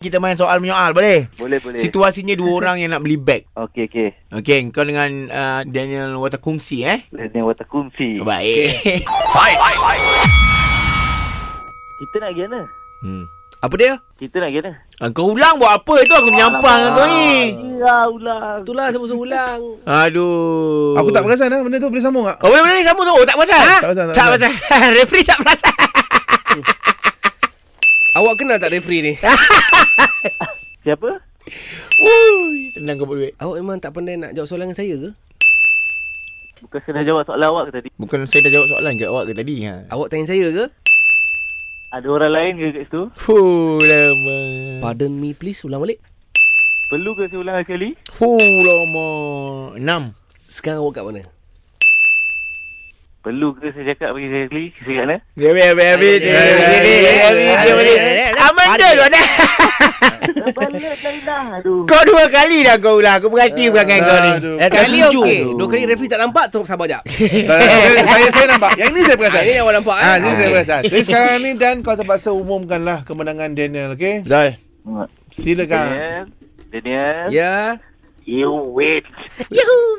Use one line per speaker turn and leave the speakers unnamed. Kita main soal menyoal boleh?
Boleh, boleh.
Situasinya dua orang yang nak beli beg.
Okey, okey.
Okey, kau dengan uh, Daniel Watakungsi eh?
Dengan water kumsi.
Baik.
Kita nak pergi mana?
hmm. Apa dia?
Kita nak pergi mana?
Ah, Kau ulang buat apa tu aku menyampang dengan kau ni?
Ya, ulang.
Itulah sama-sama ulang.
Aduh.
Aku tak perasan lah benda tu boleh sambung tak?
Kau boleh ni sambung tu? Oh, tak perasan? Ha?
Tak perasan, tak
Tak perasan. Referee tak perasan.
Awak kenal tak referee ni?
Siapa?
Wuih, senang kau buat duit.
Awak memang tak pandai nak jawab soalan dengan saya ke?
Bukan saya dah jawab soalan awak ke tadi.
Bukan saya dah jawab soalan ke awak ke tadi? Ha.
Awak tanya saya ke?
Ada orang lain ke kat situ?
Fuh, lama.
Pardon me please, ulang balik.
Perlu ke saya ulang sekali?
Fuh, lama. Enam.
Sekarang awak kat mana?
Perlu ke saya cakap bagi saya sekali? Saya kat mana?
Dia habis, habis, habis. Dia habis, Aman eh? dah tu dah.
Balik lain dah. Aduh.
Kau dua kali dah kau ulang. Aku perhati perangai kau ni.
Aduh.
Dah
Kali
tujuh.
okey. Dua kali referee tak nampak, tu sabar jap.
Eh, saya, saya, saya nampak. Yang ini saya perasan.
Ah, ini awak nampak, eh?
Ah, ini saya
Okey.
perasan. Jadi sekarang ni Dan kau terpaksa umumkanlah kemenangan Daniel, okey?
Betul.
Silakan.
eh. Daniel. Daniel.
Ya.
You wait.
Yahoo!